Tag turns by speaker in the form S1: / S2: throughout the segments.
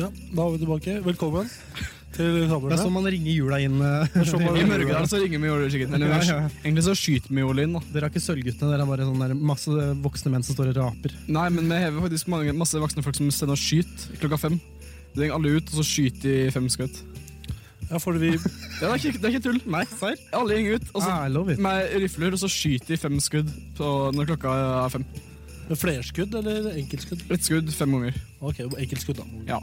S1: Ja, da er vi tilbake. Velkommen til
S2: Det er sånn
S1: Kammerset.
S2: man ringer jula inn. eh.
S1: er sånn man-
S3: I Mørgedal så ringer vi jordskikkelig. Eller
S2: Ja, ja.
S3: egentlig så skyter vi Olin, da.
S2: Dere er ikke Sølvguttene, dere er bare sånn der masse voksne menn som står og raper.
S3: Nei, men vi hever faktisk mange, masse voksne folk som sender og skyter klokka fem. De ringer alle ut, og så skyter de fem skudd.
S1: Ja, for vi,
S3: Ja, det, er ikke, det er ikke tull.
S2: Nei, serr?
S3: Alle ringer ut, og så
S2: Ærlig talt.
S3: med rifler, og så skyter de fem skudd på, når klokka er fem.
S1: med flerskudd eller enkeltskudd?
S3: Ett skudd fem ganger.
S1: Ok, enkeltskudd da.
S3: Ja.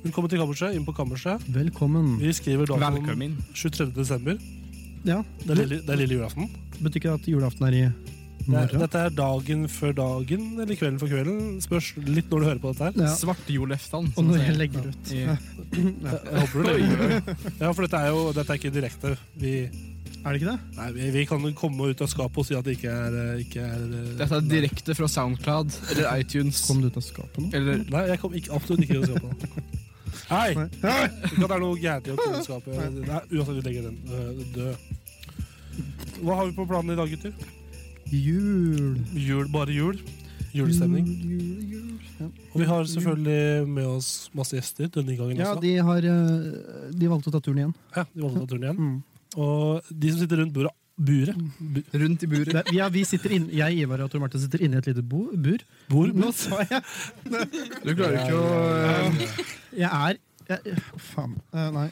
S1: Velkommen til Kammerset, inn på Kammerset.
S2: Velkommen.
S1: Vi skriver datoen
S3: Velkommen.
S1: 23. desember.
S2: Ja,
S1: Det er lille, det er lille julaften.
S2: Betyr ikke det at julaften er i
S1: Det er,
S2: morgen?
S1: dette er dagen før dagen, eller kvelden for kvelden. Spørs litt når du hører på dette her.
S2: Ja.
S3: Svartjoleftan.
S2: Og når Sånn jeg legger ut.
S3: Ja.
S1: Jeg, jeg håper du legger det. Ja, for dette er jo dette er ikke direkte. Vi,
S2: Er det ikke det?
S1: nei, vi, vi kan komme ut av skapet og si at det ikke er, eh, ikke er eh,
S3: Dette er direkte fra Soundcloud eller iTunes.
S2: Kom du ut av skapet nå?
S3: Eller
S1: Nei, jeg kom ikke, absolutt ikke til å skapet. Hei! Ikke at det er noe gærent i å komme i skapet. Nei, uansett, vi legger den øh, død. Hva har vi på planen i dag, gutter?
S2: Jul.
S1: Jul, bare jul. Julestemning.
S2: Jul, jul, jul. Ja.
S1: Og vi har selvfølgelig med oss masse gjester denne gangen
S2: ja,
S1: også.
S2: de har eh, De valgte å ta turen igjen.
S1: Ja, de valgte å ta turen igjen.
S2: Mm.
S1: Og de som sitter rundt bordet Buret? Bu
S3: rundt i buret.
S2: Det, ja, vi sitter inn, jeg, Ivar og Tor Marte sitter inne i et lite bo, bur.
S1: bord?
S2: Nå sa jeg
S3: Du klarer ikke å eh,
S2: Jeg er jeg, Faen. Eh, nei.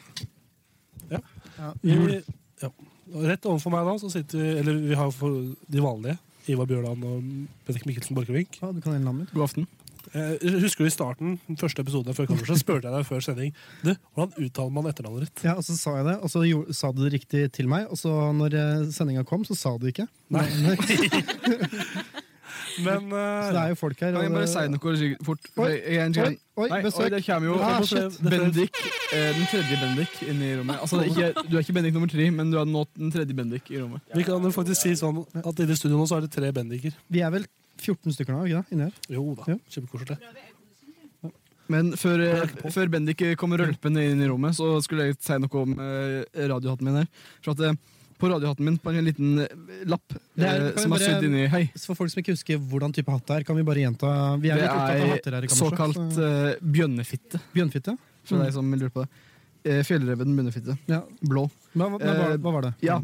S1: Ja.
S2: Ja.
S1: Vi, ja. Og Rett overfor meg da, så sitter vi Eller vi har for de vanlige. Ivar Bjørland og Bendik Mikkelsen Borchgrevink.
S2: Ja, du kan gjelde navnet mitt.
S3: God aften.
S1: Eh, husker du i starten, den første episoden før kammerset, så spurte jeg deg før sending du, hvordan uttaler man etternavnet ditt?
S2: Ja, og så sa jeg det, og så gjorde, sa du det riktig til meg. Og så når sendinga kom, så sa du ikke.
S1: Nei.
S2: så
S1: Men eh,
S2: det er jo folk her.
S3: Kan jeg bare si noe skikkelig fort? For jeg- jeg er en
S2: Oi,
S3: skikkelig-
S2: oi,
S3: Nei, oi,
S2: besøk.
S3: det kommer jo
S2: Ah,
S1: shit.
S3: Bendik, eh, den tredje Bendik inne i rommet. Altså, det er ikke, du er ikke Bendik nummer tre, men du er nå den tredje Bendik i rommet.
S1: vi kan jo faktisk si sånn at i det studioet nå så er det tre bendiker.
S2: Vi er vel 14 stykker nå, er vi ikke det? Inni her.
S1: Jo da,
S2: Ja.
S1: kjempekoselig.
S3: Men før, eh, før Bendik kom rølpende inn i rommet, så skulle jeg si noe om eh, radiohatten min her. For at eh, på radiohatten min på en liten eh, lapp
S2: Det er-
S3: eh,
S2: kan
S3: som er
S2: vi bare-
S3: sydd inni Hei.
S2: Så for folk som ikke husker hvordan type hatt det er, kan vi bare gjenta Vi er
S3: Det
S2: litt opptatt av hatter
S3: er
S2: her i kammerset. Mm.
S3: såkalt
S2: så-
S3: eh, bjønnefitte,
S2: Bjørnfitte?
S3: for deg som lurer på det. Eh, Fjellreven bjønnefitte.
S2: Ja.
S3: Blå.
S2: Hva, hva, hva,
S3: Eh,
S2: hva var det?
S3: Ja.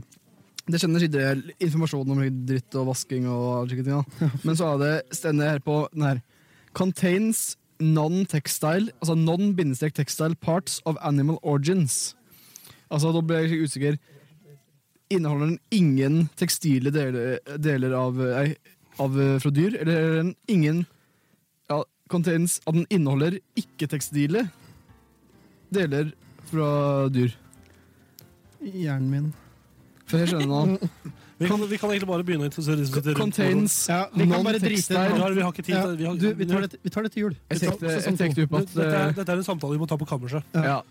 S3: Det kjenner skikkelig informasjon om dritt og vasking og all slike ting. Da. Men så er det stender her på den her. Contains non-textile, altså non-textile parts of animal origins. Altså, da ble jeg skikkelig usikker. Inneholder den ingen tekstile deler, deler av, eh, av eh, fra dyr, eller er den ingen ja, contains at den inneholder ikke-tekstile deler fra dyr?
S2: Hjernen min.
S3: For jeg skjønner nå.
S1: Vi kan, vi kan egentlig bare begynne å introdusere de som sitter rundt. bordet.
S3: Contains
S2: Ja, vi kan bare drite
S1: Vi
S3: non-textile
S1: har, vi har ikke tid
S2: Ja,
S1: til vi har,
S2: du, vi tar det, vi tar det til jul.
S3: Jeg
S2: Vi tar
S3: tenkte- jeg
S2: sesong to.
S3: tenkte jo på at
S1: sånn
S3: eh,
S1: dette, er, dette er en samtale vi må ta på kammerset.
S3: ja.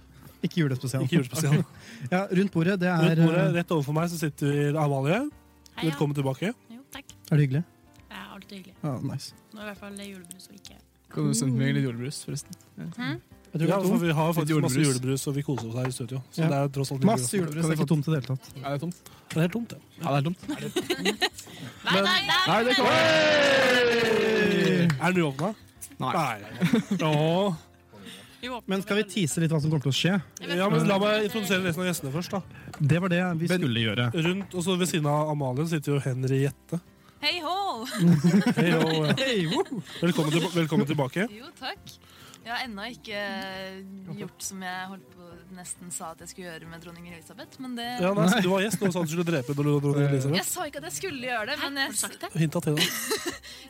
S2: Ikke julespesial.
S1: Ikke julespesial.
S2: Ja, rundt bordet, det er eh,
S1: Rundt bordet, rett overfor meg så sitter Amalie.
S4: Hei, ja.
S1: Velkommen tilbake.
S4: Jo, takk.
S2: Er det hyggelig?
S4: Det er alltid hyggelig.
S2: Ja, nice.
S4: Nå er i hvert fall julebrus og ikke
S3: Kan du sende meg litt jordbrus, forresten?
S2: Jeg tror det
S1: Ja,
S2: er
S1: for
S2: tomt.
S1: vi har faktisk
S3: Litt
S1: masse
S3: julebrus.
S1: julebrus, og vi koser oss her i studio. Så
S2: Ja.
S1: det er tross alt litt
S2: Masse
S1: jul.
S2: julebrus, det er ikke tomt i det hele tatt.
S3: Er det tomt?
S1: Det er helt tomt, ja.
S3: Ja, det er tomt.
S4: Nei, nei, nei!
S3: Nei, det kan
S2: Eh.
S1: Er den uåpna?
S3: Nei.
S1: Nei. Åh.
S4: Jo, åpne
S2: Men skal vi
S4: den.
S2: tease litt hva som kommer til å skje?
S1: Ja, men La meg introdusere resten av gjestene først. da.
S2: Det var det vi skulle gjøre.
S1: Rundt, og så Ved siden av Amalie sitter jo Henriette.
S4: Hei hå!
S1: Hei, og, eh, velkommen, til, velkommen tilbake.
S5: Jo, takk. Jeg har ennå ikke eh, gjort som jeg holdt på nesten sa at jeg skulle gjøre med dronning Elisabeth. Men det
S1: Ja, nei, så Du var gjest og sa du skulle drepe dro- dronning Elisabeth.
S5: Jeg sa ikke at jeg skulle gjøre det,
S4: Hæ,
S5: men
S4: har
S5: jeg,
S4: du sagt det?
S1: Hinta til det.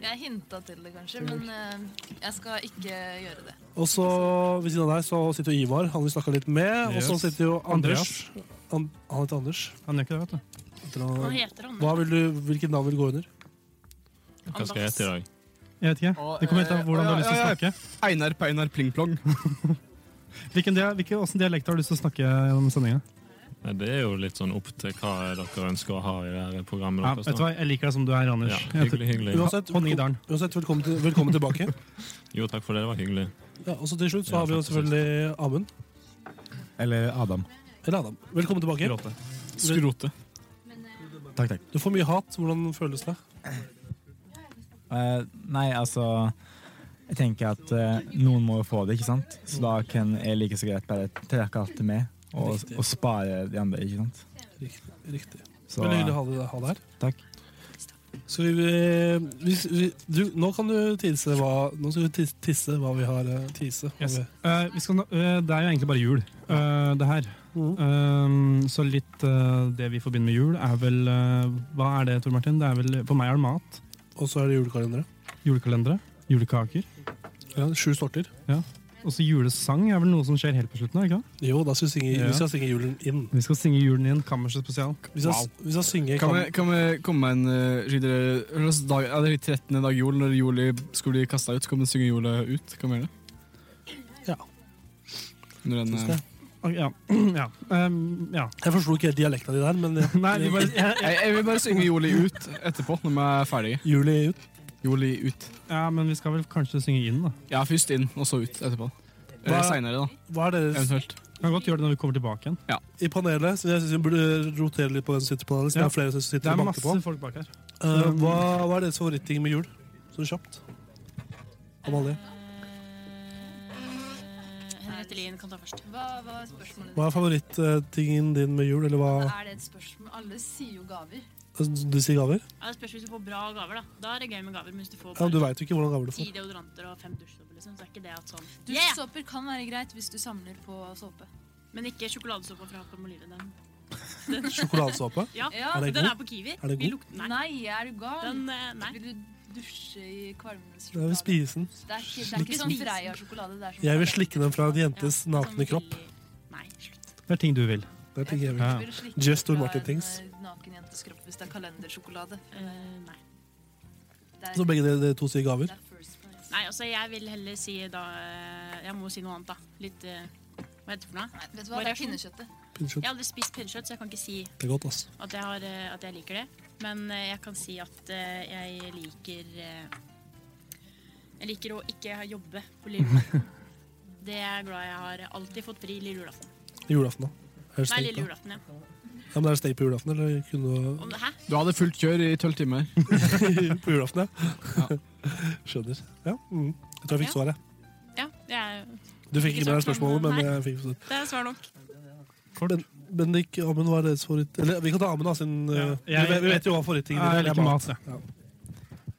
S5: jeg hinta til det kanskje. Men eh, jeg skal ikke gjøre det.
S1: Og så ved siden av deg så sitter jo Ivar, han vi snakka litt med. Og så
S2: Yes.
S1: sitter jo Anders. An han heter Anders.
S2: Han gjør ikke det, vet du.
S1: Heter han-
S4: Hva heter han?
S1: Hva vil du, hvilket navn vil gå under?
S6: Hva skal jeg hete i dag?
S2: eh, Jeg vet ikke. Det kommer helt an på hvordan du har lyst til å snakke.
S3: Einar Peinar Plingplong.
S2: Hvilken, dia- hvilken, hvordan dialekt har du lyst til å snakke gjennom sendinga?
S6: Nei, det er jo litt sånn opp til hva dere ønsker å ha i det her programmet.
S2: Ja,
S6: deres,
S2: vet du
S6: da.
S2: hva, jeg liker deg som du er, Anders.
S6: Ja,
S2: Jeg tror-
S6: hyggelig, hyggelig.
S1: Uansett,
S2: Hånd i døren.
S1: Uansett, velkommen, til, velkommen tilbake.
S6: Jo, takk for det. Det var hyggelig.
S1: Ja, og så til slutt så
S6: Ja,
S1: har vi jo
S6: takk for
S1: selvfølgelig Amund.
S7: Eller Adam.
S1: Eller Adam. Velkommen tilbake.
S6: Gråte. Skrote.
S7: Takk, takk.
S1: Du får mye hat. Hvordan føles det?
S7: Eh, nei, altså Jeg tenker at eh, noen må jo få det, ikke sant? Så da kan jeg like så greit bare trekke alt det med, og,
S1: Riktig.
S7: og spare de andre, ikke sant?
S1: Riktig.
S7: Så
S1: Veldig hyggelig å ha deg- ha deg her.
S7: takk.
S1: Skal vi, eh, hvis, vi du, Nå kan du tisse hva Nå skal vi tisse, tisse hva vi har eh, tise. hva
S2: Yes.
S1: vi-
S2: Eh, vi skal, nå- eh, det er jo egentlig bare jul, eh, det her. Eh, så litt eh, det vi forbinder med jul, er vel eh, Hva er det, Tor Martin? Det er vel, for meg er det mat.
S1: Og så er det julekalendere.
S2: Julekalendere. Julekaker.
S1: Ja, sju sorter.
S2: Og så julesang er vel noe som skjer helt på slutten? er det Ikke? det?
S1: Jo, da skal vi synge,
S2: Ja.
S1: vi skal synge julen inn.
S2: Vi skal synge julen i en kammerset spesial.
S1: Vi skal, vi skal synge
S3: Kan vi, kan vi komme med en uh, skikkelig- eller dag, Er det 13. dag jul, når juli skal bli kasta ut? Skal vi synge jula ut? Kan vi gjøre det?
S1: Ja.
S3: Under en,
S1: Synes det.
S3: uh,
S2: Ok, Ja. ja. Eh, ja.
S1: Jeg forsto ikke helt dialekta di der, men eh,
S2: Nei, vi bare, jeg,
S3: jeg, jeg vil bare synge juli ut etterpå, når vi er ferdige.
S1: juli ut.
S3: Juli ut.
S2: Ja, men vi skal vel kanskje synge inn, da.
S3: Ja, først inn, og så ut etterpå.
S1: Hva-
S3: Eller seinere, da.
S1: Hva er deres
S3: Eventuelt.
S2: Vi kan godt gjøre det når vi kommer tilbake igjen.
S1: i panelet? Så jeg synes vi burde rotere litt på den som sitter på panelet. så
S2: Ja.
S1: Det er flere som
S2: Det
S1: sitter
S2: er
S1: og banker på.
S2: masse folk bak her.
S1: Eh, hva, hva er deres favoritting med jul? Så kjapt. Amalie.
S4: Henriette eh, Lien kan ta først.
S5: Hva var spørsmålet?
S1: Hva er favorittingen din med jul? Eller hva
S5: Er det et spørsmål? Alle sier jo gaver.
S1: Du sier gaver?
S4: Ja, det spørs hvis du får bra gaver, da. Da er det gøy med gaver. Men hvis du får
S1: Ja,
S4: bare
S1: du veit jo ikke hvordan gaver du
S4: ti
S1: får.
S4: deodoranter og fem dusjsåper, liksom, så er ikke det at sånn Yeah!
S5: Dusjsåper kan være greit hvis du samler på såpe.
S4: Men ikke sjokoladesåpa fra Palmolive. Den.
S1: Sjokoladesåpe?
S4: Ja,
S5: Ja,
S1: Er det
S4: den
S1: god?
S4: er på Kiwi.
S1: Er det
S4: Vi
S1: god?
S4: lukter- Nei.
S5: Nei, er du gal?
S4: Den, eh, nei.
S5: Vil du dusje i kvalmende
S1: Jeg vil
S5: sjokolade?
S1: spise den.
S5: Det er ikke, det er ikke sånn
S4: Spise.
S5: Freia-sjokolade. det er sånn som-
S1: Jeg vil slikke den fra en jentes
S4: Ja,
S1: nakne
S4: sånn
S1: kropp.
S4: veldig- Nei, slutt.
S2: Det er ting du vil.
S1: Det tenker jeg
S2: Ja.
S1: vil.
S5: Jeg vil slikke
S1: Just Tor
S5: fra
S1: Martin
S5: en,
S1: things.
S5: eh, Naken jentes kropp hvis det er kalendersjokolade.
S4: Eh, nei.
S5: Det er,
S1: Så begge dere dere to sier gaver?
S5: det er first price.
S4: nei, altså jeg vil heller si da eh, Jeg må si noe annet, da. Litt eh, Hva heter det for noe?
S5: Nei, vet du hva, det er
S4: sånn.
S5: pinnekjøttet.
S1: Pinnekjøtt.
S4: Jeg har aldri spist pinnekjøtt, så jeg kan ikke si
S1: Det er godt, ass.
S4: at jeg, har, eh, at jeg liker det. Men eh, jeg kan si at eh, jeg liker eh, Jeg liker å ikke ha jobbe på lille julaften. Det er jeg glad i. Jeg har alltid fått fri lille julaften.
S1: Julaften, da. Er det
S4: Nei,
S1: steak,
S4: lille
S1: da?
S4: julaften, ja.
S1: Ja, men er det steak på julaften, eller kunne
S4: Om, hæ?
S3: Du hadde fullt kjør i tolv timer.
S1: På julaften, ja. Skjønner. Ja. Mm. Jeg tror jeg fikk
S4: Ja.
S1: svaret.
S4: Ja, det er,
S1: Du
S4: Ikke
S1: fikk ikke med deg
S4: svart,
S1: spørsmålet,
S4: men-
S1: men jeg fikk svar.
S4: det er svar nok.
S1: Ben, Bendik, Amund, hva er deres favoritt... Eller, vi kan ta Amund, da, siden
S2: Ja.
S1: eh,
S2: Jeg-
S1: vi, vet- vi vet jo hva favorittingen
S2: Jeg
S1: din er.
S2: liker mat. jeg.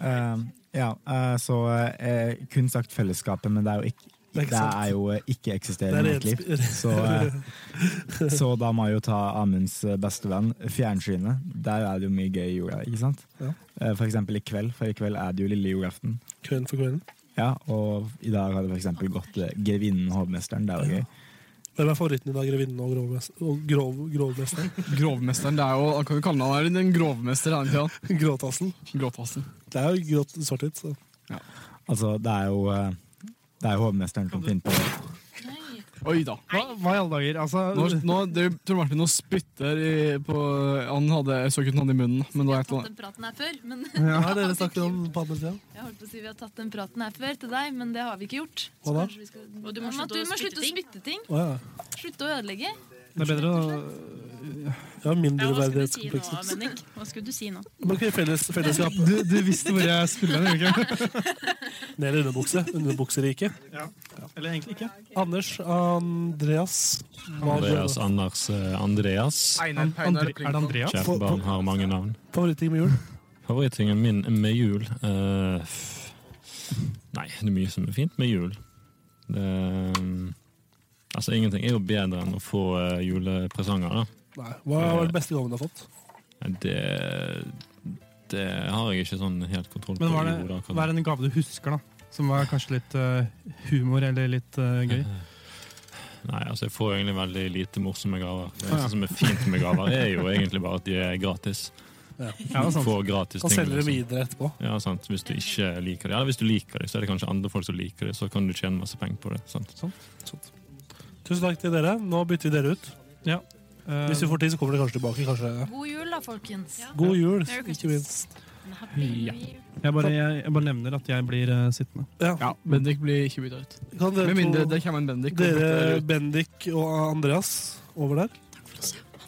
S7: Eh, ja, eh, så eh, jeg kun sagt fellesskapet, men det er jo ikke
S1: Det er ikke
S7: det
S1: sant.
S7: er jo eh,
S1: Det
S7: ikke-eksisterende
S1: er
S7: i mitt liv.
S1: rent-
S7: Så, eh, så da må jeg jo ta Amunds eh, beste venn, fjernsynet. Der er det jo mye gøy i jorda, ikke sant?
S1: Ja.
S7: Eh, For eksempel i kveld, for i kveld er det jo lille julaften.
S1: Kvelden for kvelden.
S7: Ja, og i dag har det for eksempel gått eh, Grevinnen og hovmesteren. Det er jo gøy.
S1: Hvem er favoritten din av grevinnen og grovmes- og grov, grovmesteren?
S3: Grovmesteren. det er jo, Han kan jo kalle han den grovmester. Han, ja.
S1: Gråtassen.
S3: Gråtassen.
S1: Det er jo grått svart-hvitt, så
S7: Altså, det er jo eh, det er jo hovmesteren som finner på det.
S3: Oi da.
S2: Hva, hva i alle dager?
S3: Nå,
S2: Altså,
S3: nå, det er jo Tor Martin nå spytter i, på Han hadde, Jeg så ikke noe han hadde i munnen, men det
S5: Vi
S3: var
S5: har tatt
S3: et eller annet.
S5: den praten her før, men
S1: Hva er det dere snakker om på andre siden?
S5: Jeg holdt på å si vi har tatt den praten her før til deg, men det har vi ikke gjort. Så
S1: Hva da?
S5: kanskje vi skal-
S4: Og du
S5: Om
S4: må
S5: at
S4: slutte
S5: du
S4: å
S5: må slutte
S4: spytte
S5: å
S4: ting.
S5: spytte ting.
S1: Å ja.
S5: Slutte å ødelegge.
S2: det er bedre å
S1: Jeg har
S4: Ja, hva skulle du si nå,
S1: mindreverdighetskomplekser.
S4: Bendik? Hva skulle du si nå?
S1: Men ok, felles, fellesskap.
S2: du, du visste hvor jeg skulle hen, gjorde du ikke?
S1: Ned i underbukse. Underbukseriket.
S2: Eller egentlig ikke.
S1: Anders Andreas. Hva er
S6: Andreas Anders eh, Andreas.
S2: Andre, er det Andreas?
S6: Kjært barn har mange navn.
S1: favorittingen med jul?
S6: Favorittingen min med jul eh, f- Nei, det er mye som er fint med jul. Det, eh, altså, ingenting er jo bedre enn å få eh, julepresanger, da.
S1: Nei. Hva var den beste gaven du har fått?
S6: Nei, Det, det har jeg ikke sånn helt kontroll på.
S2: Men var
S6: i
S2: det,
S6: hodet akkurat.
S2: hva er en gave du husker, da? Som var kanskje litt eh, humor eller litt eh, gøy?
S6: Nei, altså jeg får jo egentlig veldig lite morsomme gaver.
S2: Ah,
S6: Det
S2: ja.
S6: eneste som er fint med gaver, er jo egentlig bare at de er gratis.
S2: Ja, sant.
S6: Få gratis
S1: Kan
S6: ting.
S1: selge det
S6: liksom.
S1: videre etterpå.
S6: Ja, sant. Hvis du ikke liker det. Eller hvis du liker det, så er det kanskje andre folk som liker det. Så kan du tjene masse penger på det. sant?
S1: Tusen takk til dere. Nå bytter vi dere ut.
S2: Ja. Eh,
S1: Hvis vi får tid, så kommer dere kanskje tilbake. Kanskje.
S5: God jul, da, folkens.
S1: God jul,
S5: Merry
S1: ikke minst.
S2: Ja. jeg, bare, jeg, jeg bare nevner at jeg blir eh, sittende.
S3: Ja, Bendik blir ikke bytta ut.
S1: Kan
S3: Med mindre det
S1: dere to,
S3: kommer en Bendik. og bytter
S1: dere
S3: ut.
S1: Bendik og Andreas over der,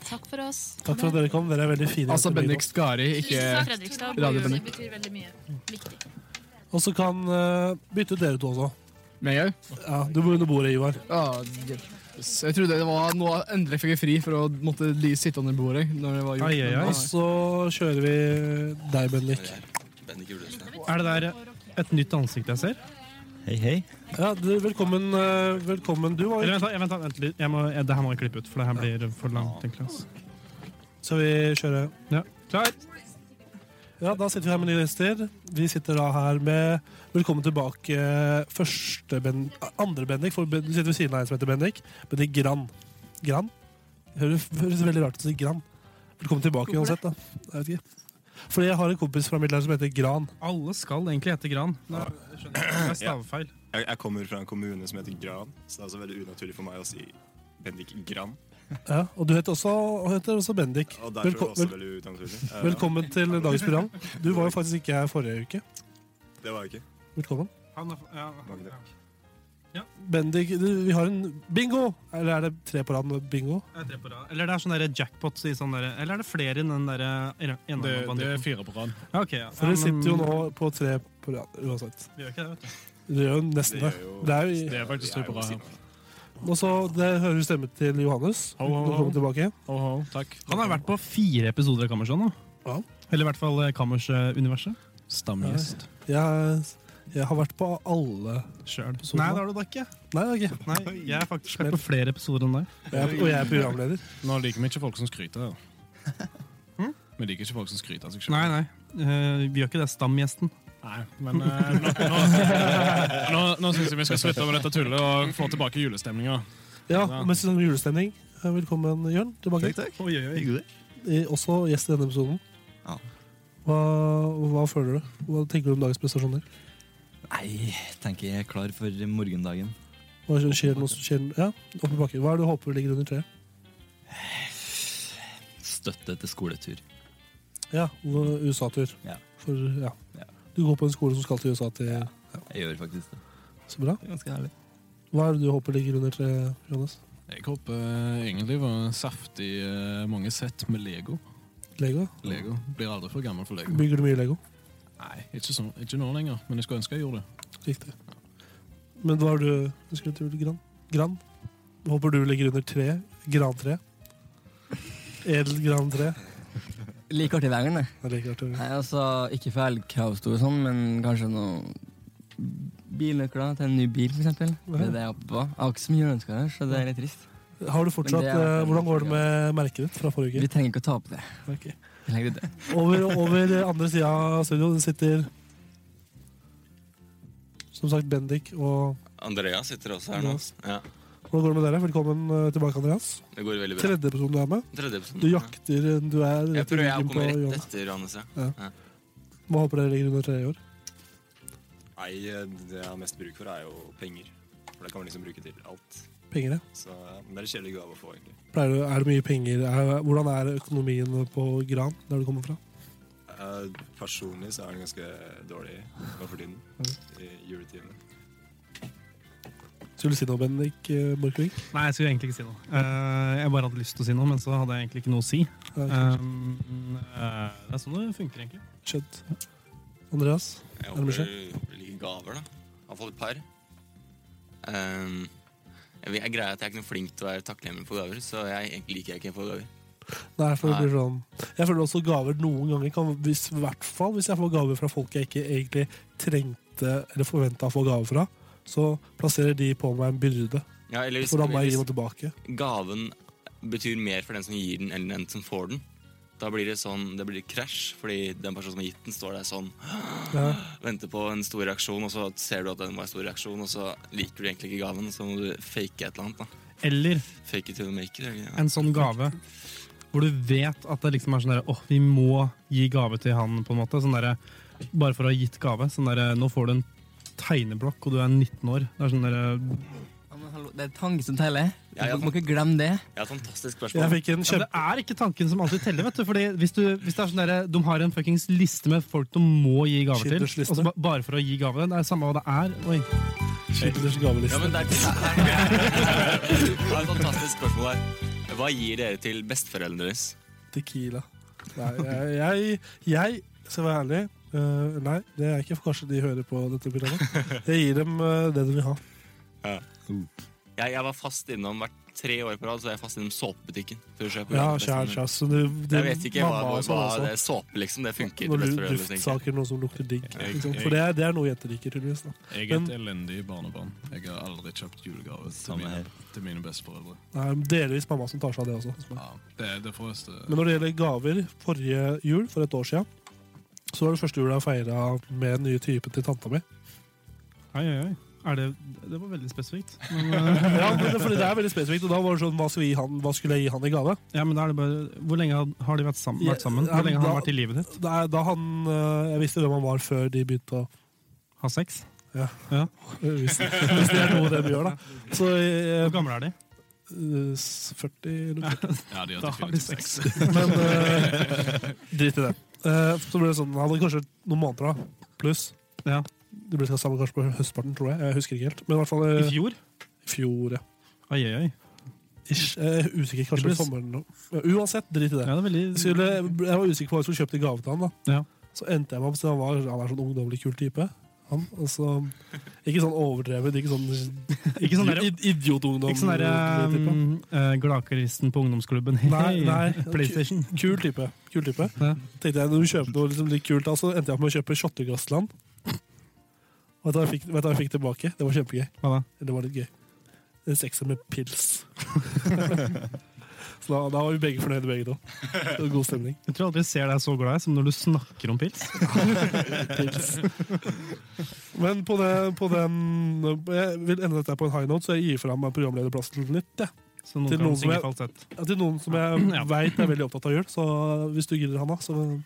S5: Takk for oss.
S1: takk for at dere kom. Dere er veldig fine.
S3: Altså
S1: etter
S3: Bendik Skari, ikke
S4: Fredrikstad.
S3: Radio
S4: Det
S3: Bendik.
S4: betyr veldig mye. Viktig.
S1: lyden. Og så kan eh, bytte ut dere to også.
S3: meg òg.
S1: Ja, du bor under bordet, Ivar.
S3: Ja, hjelpes. jeg trodde det var noe endelig fikk jeg fri for å måtte li- sitte under bordet. Når det var gjort.
S2: Ai, ai, ai.
S3: Men
S1: Og
S3: nei.
S1: så kjører vi deg, Bendik.
S2: Er det der eh, et nytt ansikt jeg ser?
S8: Hei, hei.
S1: Ja, du, velkommen, eh, velkommen. Du var
S2: Eller vent, da, jeg- vent, da, vent litt. Jeg må, jeg, det her må jeg klippe ut, for det her blir for langt. tenker jeg, ass.
S1: Skal vi kjøre?
S2: Ja. Klar?
S1: Ja, da sitter vi her med nye gjester. Vi sitter da her med Velkommen tilbake eh, første ben, andre Bendik, for Ben- du sitter ved siden av en som heter Bendik. Bendik Gran. Gran? Det høres, høres veldig rart ut å si Gran. Velkommen tilbake uansett, da. Jeg vet ikke. Fordi jeg har en kompis fra Middelhavet som heter Gran.
S2: Alle skal egentlig hete Gran. Nå, jeg skjønner. Det er stavefeil.
S8: Jeg, jeg kommer fra en kommune som heter Gran, så det er altså veldig unaturlig for meg å si Bendik Gran.
S1: Ja, og du heter også, og heter også Bendik.
S8: Og derfor er det
S1: Velko-
S8: også
S1: vel,
S8: veldig unaturlig. Eh,
S1: velkommen til dagens program. Du var jo faktisk ikke her forrige uke.
S8: Det var jeg ikke.
S1: Velkommen.
S2: Han er, ja,
S8: Magde.
S1: Bendik, du, vi har en bingo! Eller er det tre på rad med bingo?
S2: jeg er tre på rad. Eller det er sånn der jackpot i sånn der, eh, Eller er det flere enn den derre enarma-banditten?
S6: fire på rad.
S2: Ja, ok, ja.
S1: For
S2: Ja,
S1: dere sitter jo
S2: men-
S1: nå på tre på rad uansett.
S2: Vi gjør ikke det, vet du.
S1: Dere gjør jo nesten det.
S8: gjør jo-
S1: det er jo,
S6: Det er faktisk to på rad. her.
S1: og så det hører vi stemmen til Johannes.
S6: Ho, ho, ho.
S1: Velkommen tilbake.
S6: Ho, ho, takk.
S2: Han har vært på fire episoder av Kammersland. da.
S1: Ja.
S2: Eller i hvert fall eh, Kammers-universet.
S6: stamgjest.
S1: Jeg, jeg har vært på alle
S2: Sjøl.
S1: Episoder,
S2: Nei,
S1: da?
S2: det har du da ikke.
S1: Nei, det er ikke.
S2: Nei, Jeg har faktisk vært på flere episoder enn deg.
S1: Og jeg, og jeg er programleder.
S9: Nå liker vi ikke folk som skryter. her. Vi liker ikke folk som skryter av seg selv.
S2: Nei, nei. Eh, vi gjør ikke det. Stamgjesten.
S9: Nei, men eh, nå, nå, nå, nå syns jeg vi skal slutte med dette tullet og få tilbake julestemninga.
S1: Ja,
S9: Ja.
S1: Mens vi snakker om julestemning, velkommen Jørn tilbake.
S8: takk.
S2: Oi, oi, oi.
S8: Hyggelig.
S1: Eh, Også gjest i denne episoden.
S8: Ja.
S1: Hva, hva føler du? Hva tenker du om dagens prestasjoner?
S8: Nei, jeg tenker jeg er klar for morgendagen.
S1: Hva skjer, noe, skjer, ja, oppe i bakken. Hva er det du håper ligger under treet?
S8: Støtte til skoletur.
S1: Ja, hvor- USA-tur.
S8: Ja.
S1: For, ja.
S8: Ja.
S1: Du går på en skole som skal til USA til
S8: Jeg gjør faktisk det.
S1: Så bra.
S8: Det er ganske herlig.
S1: Hva er det du håper ligger under treet, Johannes?
S9: Jeg håper eh, egentlig på saftig eh, mange sett med Lego.
S1: Lego?
S9: Lego. Blir aldri for gammel for Lego.
S1: Bygger du mye Lego?
S9: Nei, ikke, sånn, ikke nå lenger, men jeg skulle ønske jeg gjorde det.
S1: Riktig. Men hva har du ønsket til Gran? Gran? Håper du ligger under tre? Grantre? Edelgrantre?
S10: Like artig veien, det.
S1: Jeg liker at du
S10: Nei, altså, ikke feil kravstor og sånn, men kanskje noe Bilnøkler til en ny bil, for eksempel. Det er det jeg håper på. Jeg har ikke så mye ønsker her, så det er litt trist.
S1: Har du fortsatt
S10: Men det er-
S1: eh, Hvordan går det med merket ditt fra forrige
S10: Vi
S1: uke?
S10: trenger ikke å ta opp det.
S1: Ok.
S10: Vi legger det.
S1: Over, over andre sida av studio sitter som sagt Bendik og
S8: Andrea sitter også
S1: her nå.
S8: Ja,
S1: Hvordan går det med dere? Velkommen eh, tilbake, Andreas.
S8: det går veldig
S1: Tredje episode du er med.
S8: Tredje
S1: Du
S10: Mm.
S1: jakter eh, Du er rett i ryggen på Johannes.
S8: etter Johannes, ja.
S1: Hva håper dere ligger under tre i år?
S8: Nei, eh, det jeg har mest bruk for, er jo penger. For det kan man liksom bruke til alt.
S1: Penger, ja.
S8: Så eh, men det er en kjedelig gave å få, egentlig.
S1: Pleier du, er det mye penger? Er, hvordan er økonomien på Gran, der du kommer fra?
S8: Eh, Personlig så er den ganske dårlig nå for tiden. I juletidene.
S1: Skulle du si noe, Bendik eh, Borchgrevink?
S2: Nei, jeg skulle egentlig ikke si noe. Eh, jeg bare hadde lyst til å si noe, men så hadde jeg egentlig ikke noe å si.
S1: Ja,
S2: Um, eh, det er sånn det funker, egentlig.
S1: Skjønt. Andreas?
S8: Jeg
S1: Er det
S8: håper det ligger gaver, da. Iallfall et par. Ehm, jeg vil- jeg greier at jeg er ikke noe flink til å være takknemlig på gaver, så jeg egentlig liker jeg ikke å få gaver.
S1: Nei, for det
S8: Nei.
S1: blir sånn. Jeg føler også gaver noen ganger kan hvis, i hvert fall hvis jeg får gaver fra folk jeg ikke egentlig trengte eller forventa å få gaver fra, så plasserer de på meg en byrde.
S8: Ja, eller hvis,
S1: Så da må jeg gi
S8: hvis
S1: noe tilbake.
S8: gaven betyr mer for den som gir den, enn den som får den. Da blir det sånn, det blir krasj, fordi den personen som har gitt den, står der sånn,
S1: Ja.
S8: venter på en stor reaksjon, og så ser du at den var en stor reaksjon, og så liker du egentlig ikke gaven, så må du fake et eller annet. da.
S2: Eller
S8: Fake it till you make it. eller?
S2: en sånn gave hvor du vet at det liksom er sånn derre åh, vi må gi gave til han, på en måte. Sånn derre bare for å ha gitt gave. Sånn derre nå får du en tegneblokk, og du er 19 år. Det er sånn derre
S10: Ja, men hallo, det er tanken som teller. Du
S2: Ja, ja,
S10: må ikke glemme det.
S8: Ja, fantastisk
S2: Ja, men det er ikke tanken som alltid teller. vet du Fordi Hvis, du, hvis det er sånn der, de har en fuckings liste med folk de må gi gaver til,
S1: Skippersliste.
S2: og så ba, bare for å gi gave Det er samme hva det er. Oi.
S1: Skippers gaveliste.
S8: Ja, men det er, Jeg har et fantastisk spørsmål her. Hva gir dere til besteforeldrene deres?
S1: Tequila. Nei, jeg, jeg, jeg skal være ærlig. øh, nei, det er ikke for kanskje de hører på dette programmet. Jeg gir dem øh, det de vil ha.
S8: Ja. Jeg, jeg var fast innom hvert tre år på rad, så er jeg fast innom såpebutikken. for å kjøpe
S1: Ja,
S8: besteforeldrene.
S1: kjær, kjær, så du- du-
S8: liksom. jeg vet ikke hva,
S1: mamma og
S8: hva,
S1: sånn også.
S8: det er såpe, liksom. Det funker
S1: Noen
S8: til
S1: lu-
S8: besteforeldre. tenker jeg.
S1: duftsaker, noe som lukter digg.
S11: Jeg-
S1: Liksom.
S11: jeg-
S1: For det er, det er noe jenter liker, tydeligvis. da.
S11: Jeg er
S1: Men
S11: et elendig barnebarn. Jeg har aldri kjøpt julegave til mine, til mine besteforeldre.
S1: det er delvis mamma som tar seg av det også.
S11: Ja, det er det forreste
S1: Men når det gjelder gaver, forrige jul for et år siden, så var det første jula jeg feira med den nye typen til tanta mi.
S2: Oi, oi, oi. Er det, det var veldig spesifikt. Men, eh,
S1: ja, men det, fordi det er veldig spesifikt, og da var det sånn, hva, skal vi gi han, hva skulle jeg gi han i gave?
S2: ja, men da er det bare, Hvor lenge har- har de vært sammen? Vært sammen?
S1: Ja,
S2: Hvor lenge har han
S1: da-
S2: vært i livet ditt?
S1: Da, da han, eh, jeg visste hvem han var før de begynte å
S2: Ha sex?
S1: Ja.
S2: Ja.
S1: Hvis, hvis det er noe de gjør, da. Så, eh,
S2: Hvor gamle er de?
S1: eh, s- 40 eller noe.
S11: Ja, de har
S1: Da
S11: definitivt sex.
S1: Men eh, drit i det. Eh, så ble det sånn, Han hadde kanskje noen måneder da, pluss. Det ble sammen kanskje på høstparten, tror jeg. Jeg husker ikke helt. Men i hvert fall eh,
S2: I fjor?
S1: I fjor, ja.
S2: Oi, oi, oi.
S1: Ish, jeg er usikker, kanskje
S2: Det ble-
S1: på sommeren nå. Ja, Uansett, drit i det. Jeg skulle, jeg var usikker på hva jeg skulle kjøpe til gave til han. da.
S2: Ja.
S1: Så endte jeg meg opp til han var han er sånn ungdommelig kul type. Han, og så- ikke sånn overdrevet, ikke sånn,
S2: Ikke sånn der-
S1: id- idiotungdom.
S2: Ikke sånn der
S1: type.
S2: um, eh, gladkristen på ungdomsklubben.
S1: Nei, nei.
S2: PlayStation.
S1: Kul type. Kul type.
S2: Ja.
S1: Tenkte jeg, når du kjøper noe liksom litt kult, da, så endte jeg opp med å kjøpe shotteglass til han. Og Vet du hva jeg fikk- vet du hva jeg fikk tilbake? Det var kjempegøy.
S2: Hva da?
S1: Det var litt gøy. En sekser med pils. så da, da var vi begge fornøyde, begge to. Det var God stemning.
S2: Jeg tror aldri jeg ser deg så glad som når du snakker om pils.
S1: Pils. Men på, det, på den Jeg vil ende dette på en high note, så jeg gir fra meg programlederplassen litt. jeg.
S2: Så noen
S1: Til
S2: kan
S1: noen som
S2: synge
S1: jeg-
S2: falsett.
S1: Ja, til noen som jeg
S2: Ja.
S1: veit er veldig opptatt av jul. Så hvis du gidder, Hanna, så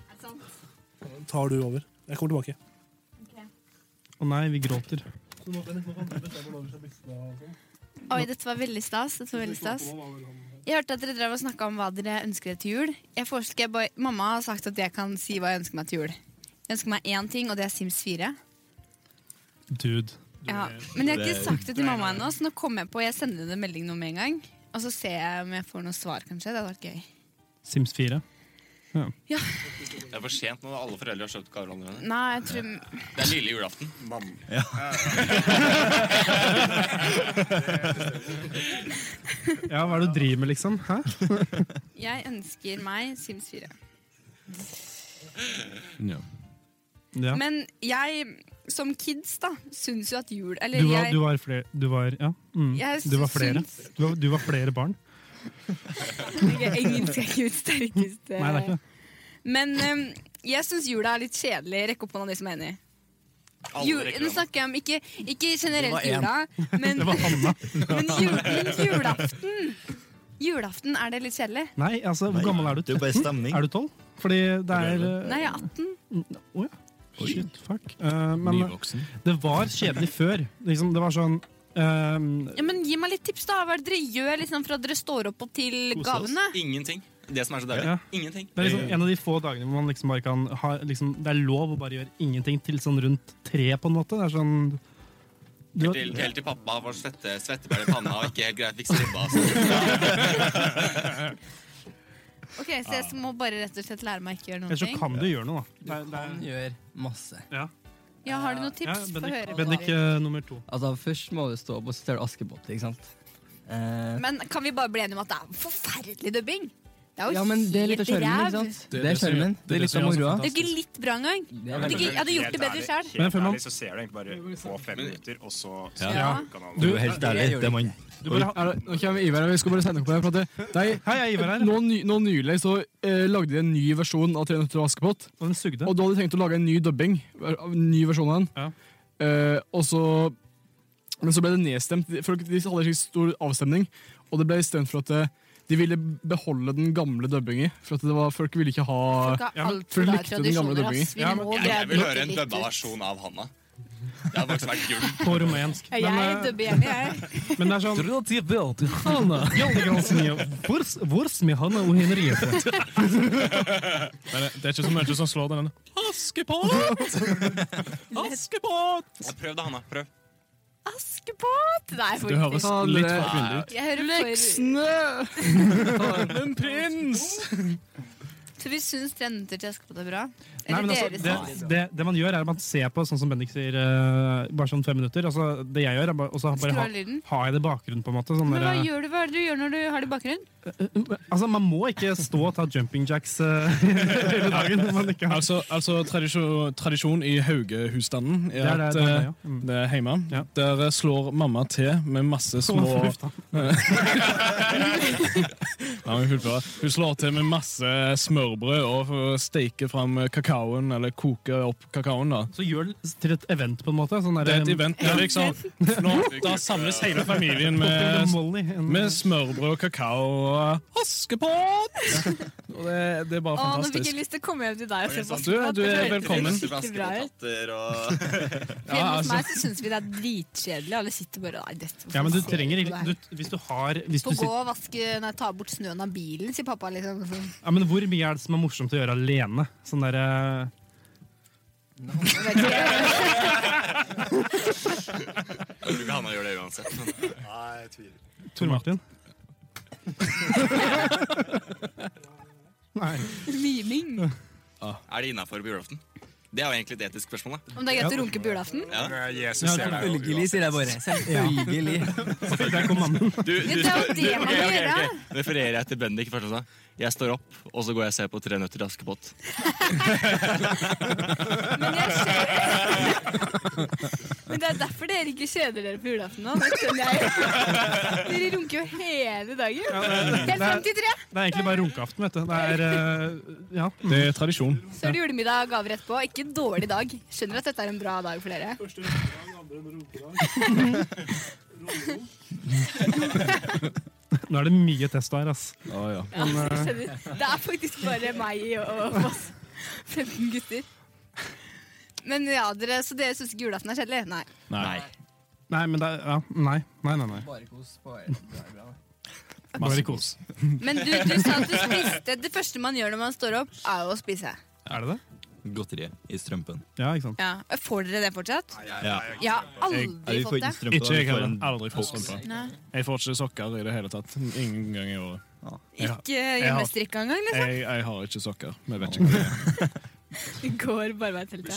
S1: tar du over. Jeg kommer tilbake.
S2: Å nei, vi gråter.
S12: Oi, dette var veldig stas. Dette var veldig stas. Jeg hørte at dere drev og snakka om hva dere ønsker dere til jul. Jeg foreslår jeg bare, Mamma har sagt at jeg kan si hva jeg ønsker meg til jul. Jeg ønsker meg én ting, og det er Sims 4.
S2: Dude.
S12: Ja. Men jeg har ikke sagt det til mamma ennå, så nå kommer jeg på jeg sender henne en melding nå med en gang. Og så ser jeg om jeg får noe svar, kanskje. Det hadde vært gøy.
S2: Sims 4. Ja.
S8: Det er for sent nå. Alle foreldre har kjøpt gaver allerede.
S12: Nei, jeg tror
S8: Det er lille julaften. Mann.
S13: Ja.
S2: ja, hva er det du driver med, liksom? Hæ?
S12: Jeg ønsker meg Sims 4.
S11: ja.
S2: Ja.
S12: Men jeg, som kids, da, syns jo at jul Eller
S2: Du var,
S12: jeg
S2: du var flere Du var, ja. mm.
S12: Jeg
S2: du var flere.
S12: syns-
S2: Du var, du var flere barn.
S12: Ikke, Engelsk er ikke mitt sterkeste
S2: Nei, det er ikke det.
S12: Men em, jeg syns jula er litt kjedelig. Rekk opp hånda de som er enig.
S2: Alle
S12: Jul,
S2: rekker
S12: nå snakker jeg om ikke, ikke generelt
S2: Det
S12: jula,
S2: var
S12: men,
S2: Det var Anna.
S12: men, jul, men julaften Julaften er det litt kjedelig.
S2: Nei, altså, hvor gammel er du?
S14: det er jo bare
S2: 13?
S14: stemning.
S2: Er du 12? Fordi det er eh,
S12: Nei, jeg er 18.
S2: Å ja. Shit, fuck. Eh, men
S11: Nyvoksen.
S2: det var kjedelig før. Liksom, det var sånn eh,
S12: Ja, men gi meg litt tips, da. Hva er det dere gjør liksom, fra dere står opp og til gavene?
S8: Ingenting. Det som er så deilig.
S2: Ja.
S8: Ingenting.
S2: Det er liksom en av de få dagene hvor man liksom bare kan ha liksom, Det er lov å bare gjøre ingenting til sånn rundt tre, på en måte. Det er sånn du,
S8: Helt til, helt til pappa var svette, svettebær i panna og ikke helt greit fikk stribba. altså.
S12: Ok, Så jeg må bare rett og slett lære meg ikke å gjøre noen
S2: Eller så
S12: ting?
S2: kan du gjøre noe, da.
S10: Du kan gjøre masse.
S12: Ja, Har du noen
S2: Ja,
S12: tips? Få
S2: Bendik-
S12: høre. på.
S2: Bendik eh, nummer to.
S10: Altså, først må du stå opp og sitere Askepott, ikke sant? Eh,
S12: Men kan vi bare bli enige om at det er forferdelig dubbing? Det er jo
S10: ja, men det er litt av
S12: helt
S10: skjermen,
S12: ræv.
S10: ikke sant?
S14: Det er
S10: Det er
S14: det som-
S10: skjermen. Det
S14: det
S10: er
S14: er det
S10: litt
S14: som
S10: av
S14: gjør det så
S10: moroa.
S12: Det er ikke litt bra engang. Hadde ikke- Jeg hadde gjort det bedre sjøl.
S14: Helt
S2: Men
S14: ærlig så ser du egentlig bare på fem minutter, og så
S12: Ja.
S14: Du, helt ærlig, det er man
S3: Du bare, er det, nå kommer Ivar her, vi skal bare sende opp her. For at det, det er,
S2: Hei, jeg er Ivar her.
S3: Nå, ny, nå nylig så eh, lagde de en ny versjon av 300 til Askepott.
S2: Og den sugde.
S3: Og da hadde de tenkt å lage en ny dubbing. En ny versjon av den. Eh, og så, men så ble det nedstemt. For de hadde en slik stor avstemning, og det ble stemt for at eh, De ville beholde den gamle dubbingen. For at det var, folk ville ikke ha
S15: Folk har alt
S3: folk
S15: for lave
S3: likte den gamle
S15: tradisjoner,
S3: dubbingen.
S15: ass. Vi Ja, men- må
S8: Jeg, jeg vil høre en dubba versjon av Hanna. Det hadde faktisk vært gull.
S1: På rumensk.
S15: Jeg
S1: Men, eh,
S15: dubber gjerne, jeg.
S1: men det er sånn Hvor, hvor med Hanna og Henriette?
S9: Men det, det er ikke så mye som slår den.
S8: Askepott!
S15: Askepott!
S8: Ja, prøv da, Hanna. Prøv.
S15: Askepott! Nei,
S8: Du høres litt forkvinnelig ut.
S15: Jeg hører for-
S3: Leksene! Armen prins!
S12: Så vi syns trender til Askepott er bra?
S1: Nei, men altså, det, det, det man gjør, er at man ser på, sånn som Bendik sier, eh, bare sånn fem minutter. Altså, det jeg gjør, er bare, og så
S12: Skru
S1: bare
S12: av
S1: ha,
S12: lyden.
S1: ha jeg det i bakgrunnen, på en måte. Sånn
S12: Men hva
S1: der,
S12: gjør du, hva er det du gjør når du har det i bakgrunnen?
S1: altså, man må ikke stå og ta jumping jacks eh, hele dagen. når Man ikke har.
S9: Altså, altså tradisjon, tradisjon i Hauge-husstanden
S1: Det
S9: er
S1: er
S9: at
S1: det- det er det,
S9: eh,
S1: ja. Mm.
S9: det er hjemme. Der eh, slår mamma til med masse små
S1: Å, fy faen.
S9: Nei, men hun, fullfører. hun slår til med masse smørbrød og steker fram eh, kakaoen, eller koker opp kakaoen. da.
S1: Så gjør det til et event, på en måte. Sånn
S9: Det er et event. Det er liksom, nå, da samles hele familien med, med smørbrød og kakao. og
S15: Askepott!
S9: og det, det er bare
S15: Å, nå fikk
S9: fantastisk.
S15: jeg lyst til å komme hjem til deg og se på
S9: sant. Du-
S15: Askepott.
S9: du er
S15: Det høres
S9: velkommen.
S15: skikkelig bra ut.
S9: Ja,
S15: Hjemme hos
S9: altså.
S15: meg så syns vi det er dritkjedelig. Alle sitter bare Nei, dette hvorfor
S1: Ja, men du
S15: ser
S1: trenger
S15: på det
S1: ikke
S15: her?»
S1: du, Hvis du har hvis du
S12: Få gå
S1: sitter,
S12: og vaske, nei, ta bort snøen av bilen, sier pappa. liksom. Sånn.
S1: ja, men Hvor mye er det som er morsomt å gjøre alene? Sånn der, eh,
S8: Jeg tror ikke Hanna gjør det uansett. Nei, jeg tviler.
S1: Tor Martin? Nei.
S12: Liming.
S8: Er det innafor på julaften? Det er jo egentlig et etisk spørsmål. da.
S12: Om det er greit å runke på julaften?
S8: Ja.
S10: Ja, selvfølgelig, sier jeg bare. Selvfølgelig.
S8: Du,
S12: Ja,
S8: du,
S12: det er jo det
S8: Ok,
S12: man
S8: ok,
S12: gjør, da.
S8: ok. Refererer jeg til Bendik først også. Jeg står opp, og så går jeg og ser på Tre nøtter til Askepott.
S15: Men det er derfor dere ikke kjeder dere på julaften nå. Det skjønner jeg. Dere runker jo hele dagen. Helt frem til tre.
S1: Det er egentlig bare runkeaften, vet du. Det er, eh, ja. det er tradisjon.
S12: Så er det julemiddag og gaver etterpå. Ikke en dårlig dag. Skjønner at dette er en bra dag for dere.
S1: Nå er det mye test her, ass.
S15: Ja,
S1: Men,
S15: jeg
S1: eh,
S15: skjønner. Det er faktisk bare meg og oss 15 gutter.
S12: Men ja, dere, Så dere syns ikke julaften er kjedelig? Nei.
S1: Nei. Nei, men det er ja, Nei, nei, nei. nei.
S10: Bare kos. Bare, det er bra.
S1: Bare kos.
S12: Men du, du sa at du spiste. Det første man gjør når man står opp, er jo å spise.
S1: Er det det?
S16: Godteriet i strømpen.
S1: Ja, ikke sant.
S12: Ja. Får dere det fortsatt?
S16: Ja.
S12: Jeg har aldri fått det.
S9: Ikke jeg heller. Aldri fått strømpe.
S12: Nei.
S9: Jeg får ikke sokker i det hele tatt. Ingen gang i året. Jeg har-
S12: Ikke
S9: jeg har-
S12: hjemmestrikka engang, liksom?
S9: Jeg, jeg har ikke sokker. Vi vet ikke hva det er.
S12: Det Går bare vei til det.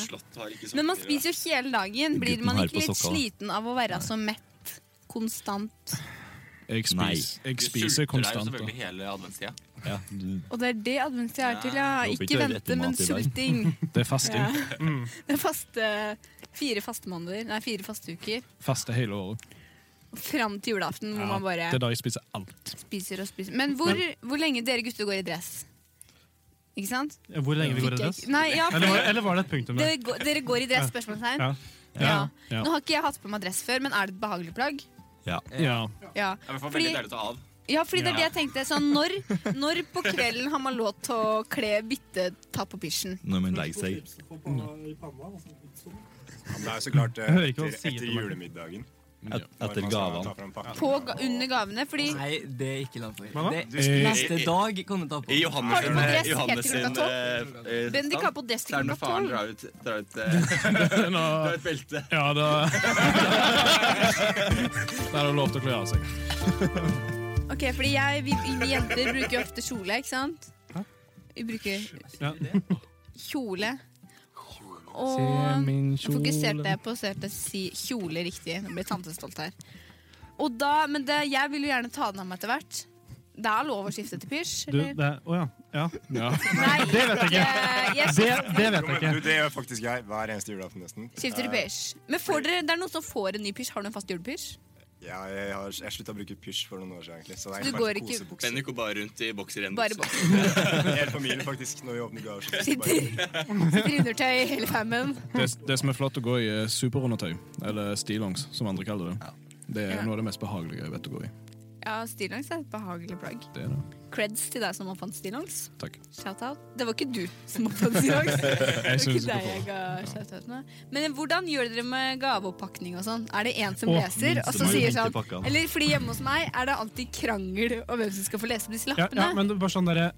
S12: Men man spiser jo hele dagen. Blir
S9: Gutten
S12: man
S9: her
S12: ikke
S9: på
S12: litt
S9: sokka, da.
S12: sliten av å være så mett konstant?
S9: Jeg spiser, jeg
S8: Du
S9: spiser
S8: sulter deg jo
S9: konstant. da.
S8: selvfølgelig hele adventstida.
S12: Og det er det adventstid er til, ja.
S8: jeg håper ikke
S12: Ikke
S8: det er
S12: vente, men
S8: rett mat i dag.
S12: sulting.
S9: Det er fasting.
S12: Ja.
S9: Mm.
S12: Det er faste fire faste måneder, nei, fire faste uker.
S9: Faste hele året.
S12: Fram til julaften hvor
S9: Ja,
S12: man bare
S9: Det er da jeg spiser alt.
S12: spiser og spiser. Men hvor, hvor lenge dere gutter går i dress? Ikke sant?
S1: Hvor lenge vi går i
S12: Fikk jeg
S1: dress?
S12: ikke- Nei, ja, for-
S1: eller, var, eller var det et punktum der?
S12: Dere går, dere går i dress?
S1: Ja.
S12: spørsmålstegn?
S1: Ja.
S12: Ja.
S1: Ja.
S12: Nå har ikke jeg hatt på meg dress før, men er det et behagelig plagg?
S16: Ja.
S9: Ja.
S12: Ja,
S8: Det er i hvert fall
S12: Fordi-
S8: veldig deilig å ta av.
S12: Ja, fordi det er det
S8: Ja.
S12: jeg tenkte. Sånn, når, når på kvelden har man lov til å kle, bytte, ta på pysjen?
S16: Når man legger seg.
S14: Det er jo så klart eh,
S16: Jeg hører ikke hva
S14: etter,
S16: han sier
S14: etter
S16: til meg.
S14: julemiddagen.
S16: Et-
S14: Når
S16: etter
S14: man skal
S16: gavene.
S14: ta fram pakken.
S12: På, ga- under gavene? Fordi
S10: Nei, det er ikke lov for.
S14: Hva da?
S10: Det
S14: Du skal-
S10: neste
S14: Eh, eh,
S10: dag kan du ta på.
S8: I Johannes,
S12: Har du på dress helt til
S8: Johannes
S12: klokka
S8: sin
S12: tolv?
S8: eh, eh,
S12: Bendik har
S8: stand,
S12: på dress til
S8: så er det
S12: klokka
S8: når faren
S12: tolv.
S8: drar ut, drar ut, eh, drar ut belte.
S9: Ja, da Da er det lov til å kle av seg.
S12: Ok, fordi jeg, vi, vi jenter bruker jo ofte kjole, ikke sant? Vi bruker
S9: Ja.
S12: kjole.
S9: Se
S12: Og
S9: min
S12: jeg fokuserte
S9: kjole.
S12: på å se at jeg sier kjole riktig. Nå blir tante stolt her. Og da, men det, jeg vil jo gjerne ta den av meg etter hvert. Det er lov å skifte til pysj?
S1: Du,
S12: eller?
S1: det Å ja. ja.
S12: Nei,
S1: Det vet jeg
S12: eh,
S1: ikke.
S12: jeg-
S1: Det, det vet
S14: Jo,
S1: jeg
S14: men
S1: ikke.
S14: du, det gjør faktisk jeg hver eneste julaften nesten.
S12: Skifter til
S14: Eh,
S12: pysj. Men får dere, det er noen som får en ny pysj. Har du en fast julepysj?
S14: Ja, jeg har jeg slutta å bruke pysj for noen år siden. egentlig. Så det
S12: Så
S14: er
S12: du
S14: bare
S12: går ikke-
S14: kosebukser.
S8: Bendik går bare rundt i bokser igjen.
S12: Bare
S14: Hele familien, faktisk, når vi åpner gaver. så
S12: Sånn. Sitter, sitter i undertøy hele femmen.
S9: Det, det som er flott å gå i, er superundertøy, eller stillongs, som andre kaller det. Det er noe av det mest behagelige jeg vet å gå i.
S12: Ja, stillongs er et behagelig plagg.
S4: Det er det.
S12: Creds til deg som oppfant stillongs.
S4: Takk.
S12: Shout-out. Det var ikke du som oppfant stillongs. Det var
S4: Jeg synes
S12: ikke
S4: ikke
S12: deg
S4: på det.
S12: jeg ga shout-out med. Men hvordan gjør dere med gaveoppakning og sånn? Er det en som
S4: Å,
S12: leser, og
S1: minst
S12: så
S1: må jo
S12: sier
S1: tenke i
S12: sånn
S1: pakkene.
S12: Eller fordi hjemme hos meg er det alltid krangel om hvem som skal få lese på disse
S1: Ja,
S12: lappene.
S1: ja, men det, er bare sånn derre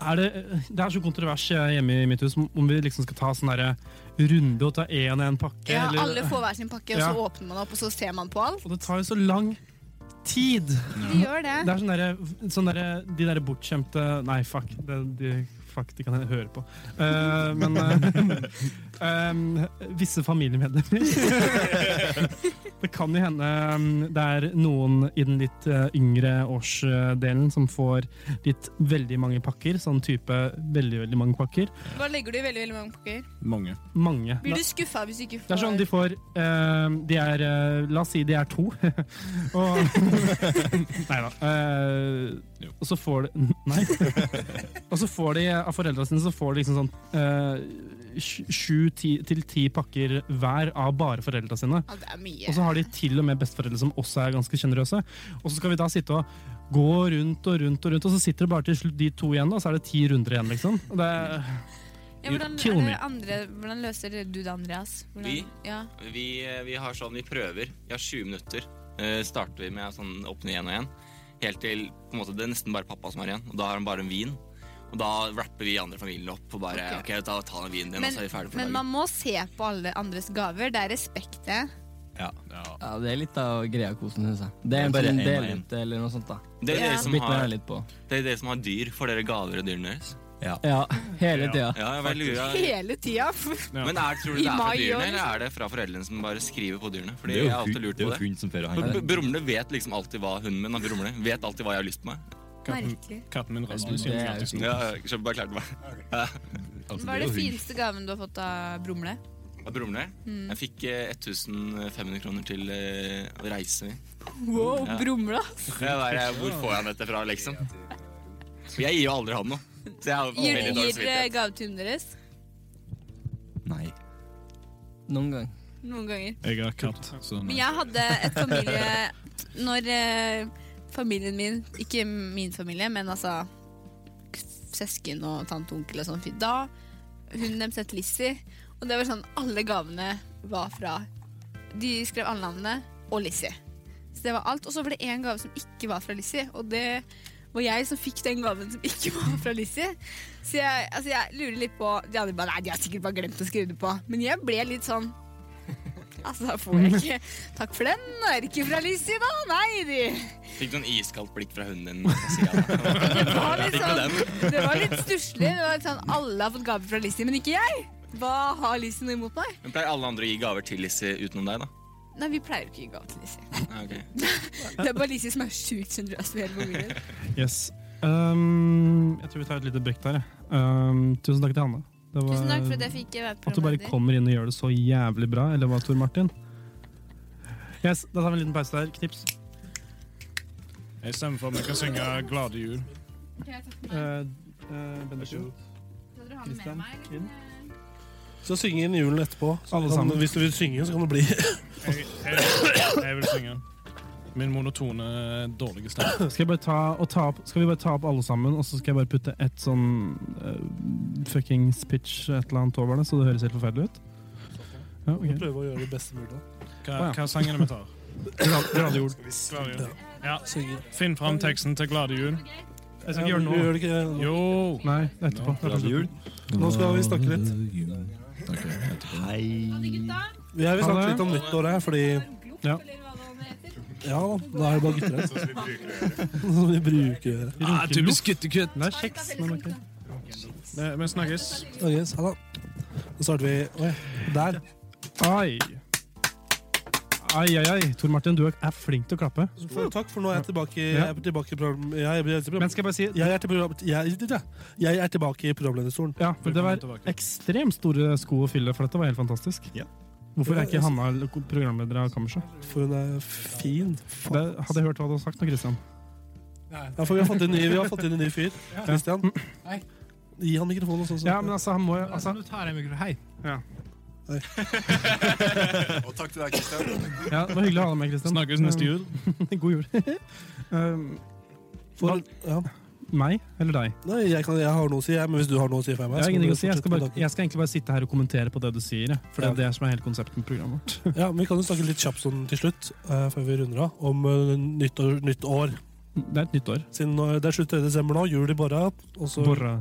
S1: er det, det er så kontrovers hjemme i mitt hus om om vi liksom skal ta sånn derre runde og ta én og én pakke.
S12: Ja,
S1: eller-
S12: alle får hver sin pakke, og
S1: Ja.
S12: så åpner man opp, og så ser man på alt.
S1: Og det tar jo så lang tid.
S12: Det gjør det.
S1: Det er sånn derre- sånn derre- de derre bortskjemte Nei, fuck. Det, de, fuck, de kan jeg høre på. Eh, men eh, em, Visse familiemedlemmer. det kan jo hende em, det er noen i den litt eh, yngre årsdelen som får litt veldig mange pakker. Sånn type veldig, veldig mange pakker.
S12: Hva legger du i veldig veldig mange pakker?
S1: Mange. Mange.
S12: Blir du skuffa hvis du ikke
S1: Det
S12: får
S1: er sånn de får eh, De er eh, La oss si de er to. og Nei da. eh, og så får de Nei. og så får de av foreldra sine så får de liksom sånn eh, sj- sju ti, til ti pakker hver av bare foreldra sine.
S12: Ja, det er mye.
S1: Og så har de til og med besteforeldre som også er ganske sjenerøse. Og så skal vi da sitte og gå rundt og rundt, og rundt, og så sitter det bare til slutt de to igjen, og så er det ti runder igjen, liksom. Og Det er,
S12: Ja, hvordan,
S1: Kill
S12: er
S1: me.
S12: det andre, hvordan løser du det, Andreas? Hvordan,
S8: Vi,
S12: Ja.
S8: vi, vi har sånn, vi prøver. Vi har 20 minutter. Eh, starter vi med sånn åpne igjen og igjen. Helt til på en måte, det er nesten bare pappa som er igjen. Og da har han bare en vin. Og da rapper vi andre familiene opp og bare OK, da tar han vinen din, og
S12: Men,
S8: så altså, er vi ferdig for
S12: men
S8: dagen.
S12: man må se på alle andres gaver. Det er respekt, det.
S10: Ja. det er litt av greia kosen, synes jeg. Det er en
S8: Bare
S10: som
S8: en og
S10: deler
S8: en.
S10: ut eller noe sånt, da.
S8: Det er, dere som
S10: Bytter
S8: har,
S10: meg litt på.
S8: det er dere som har dyr. Får dere gaver av dyrene deres?
S10: Ja. hele tida.
S8: Ja, jeg bare lurer.
S12: Hele tida.
S8: Men er, tror du det
S12: I
S8: er fra
S12: mai
S8: dyrene,
S12: også,
S8: eller er det fra foreldrene som bare skriver på dyrene? Fordi
S17: Det er jo
S8: jeg har alltid
S17: hund-
S8: lurt
S17: det er
S8: på
S17: jo
S8: det.
S17: hund som fører
S8: B-
S17: henne.
S8: b- Brumle vet liksom alltid hva hunden min har brumle. Vet alltid hva jeg har lyst på meg.
S12: liksom. Merkelig.
S9: Katten min
S8: Ja,
S9: Rasmus. kjenner seg alltid snor.
S8: jeg skjønner, bare klarte meg.
S12: Hva er det fineste gaven du har fått av Brumle?
S8: Av Brumle?
S12: Mm.
S8: Jeg fikk eh, 1500 kroner til eh, å reise.
S12: Wow,
S8: Ja.
S12: Brumle, ass!
S8: Jeg bare, hvor får jeg dette fra, liksom? For jeg gir jo aldri han noe. Så jeg har
S12: Gir
S8: veldig dårlig
S12: gir dere
S8: samvittighet.
S12: gave til hundene deres?
S10: Nei. Noen gang.
S12: Noen ganger.
S10: Jeg har katt.
S12: Men jeg hadde et familie Når eh, familien min Ikke min familie, men altså Søsken og tante og onkel og sånn Da hun dem sett Lizzie Og det var sånn Alle gavene var fra De skrev alle navnene Og Lizzie Så det var alt Og så var det en gave som ikke var fra Lizzie Og det var jeg som fikk den gaven som ikke var fra Lizzie Så jeg, altså jeg lurer litt på De andre bare, nei, de har sikkert bare glemt å skrive det på Men jeg ble litt sånn Altså, da får jeg ikke Takk for den, er det ikke fra Lizzie da? Nei, de.
S8: Fikk noen iskaldt blikk fra hunden din. Det
S12: var litt
S8: Fikk du den?
S12: sånn- det var litt stusslig. Det var litt sånn, alle har fått gave fra Lizzie, men ikke jeg. Hva har Lizzie noe imot meg?
S8: Men pleier alle andre å gi gaver til Lizzie utenom deg, da?
S12: Nei, vi pleier ikke å gi gave til Lizzie.
S8: Ja, ok.
S12: Det er bare Lizzie som er sjukt sjenerøs med hele familien.
S1: Yes. Um, jeg tror vi tar et lite brekk der. jeg. Um, tusen takk til Hanne. Det var-
S12: Tusen takk for at jeg fikk være
S1: At du bare
S12: programleder.
S1: kommer inn og gjør det så jævlig bra, eller hva, Tor Martin? Yes, Da tar vi en liten pause der. Knips.
S9: Jeg stemmer for at vi kan synge Glade jul.
S1: Uh, uh, Benedikt. Christian. Kim.
S3: Så syng inn julen etterpå. Så
S9: Alle
S3: kan-
S9: sammen.
S3: Hvis du vil synge, så kan det bli
S9: Jeg, jeg, jeg vil synge. Min monotone, dårlige stemme.
S1: Skal, jeg bare ta, og ta opp, skal vi bare ta opp alle sammen, og så skal jeg bare putte et sånn uh, fuckings pitch et eller annet over det, så det høres helt forferdelig ut? Ja,
S3: Vi
S1: ok.
S3: prøver å gjøre det beste mulig.
S9: Hva,
S1: Å, ja.
S9: hva sangen vi tar?
S1: Glade jul.
S9: Glade jul. Ja. Finn fram teksten til Glade jul.
S1: Jeg skal ikke gjøre det nå.
S3: Vi gjør det ikke nå.
S9: Jo!
S1: Nei, etterpå.
S9: Glade jul.
S3: Nå skal vi snakke litt. Vi har jo snakket litt om nyttåret her, fordi
S1: Ja.
S3: Ja da, da er det bare gutter her.
S14: Sånn
S3: Sånn Som vi bruker å gjøre.
S9: Ah, typisk
S1: guttekutt. Det er kjeks, men ok.
S9: Vi- Vi snakkes.
S3: Ok, ha det. Da starter vi Oi, der.
S1: Ai. Ai, ai, ai. Tor Martin, du er flink til å klappe.
S3: For, takk, for nå er jeg tilbake, jeg
S1: Ja.
S3: er tilbake i program... Jeg, jeg, jeg,
S1: Men skal jeg bare si
S3: jeg, er til program, jeg, jeg er tilbake i programlederstolen.
S1: Ja, for Det var ekstremt store sko å fylle, for dette var helt fantastisk. Hvorfor er ikke Hanna l- programleder av Kammerset?
S3: For hun er fin.
S1: Det hadde jeg hørt hva du hadde sagt nå, Christian.
S3: Ja, for vi har fått inn, en ny- vi har fått inn en ny fyr. Christian. Gi han mikrofonen også.
S1: Ja, men altså, han må jo altså,
S9: Hei.
S1: Ja. Oi.
S14: Og takk til deg, Kristian.
S2: Ja, det var hyggelig å ha deg med, Kristian.
S9: Snakkes neste jul.
S2: God jul. um,
S1: For, ja.
S2: Meg eller deg?
S1: Nei, jeg, kan, jeg har noe å si, jeg, men hvis du har noe å si for
S2: Jeg
S1: meg så
S2: har
S1: må
S2: ingenting
S1: du
S2: å si. Jeg skal,
S1: fortsette
S2: bare, jeg skal egentlig bare sitte her og kommentere på det du sier. jeg. For det er det som er hele konseptet med programmet vårt.
S1: med dagen. Ja, men Vi kan jo snakke litt kjapt sånn til slutt, eh, før vi runder av, om eh, nytt, år, nytt år.
S2: Det er et nytt år.
S1: Siden nå- det er slutt 3. desember nå, jul i morgen. og så-
S2: Borra.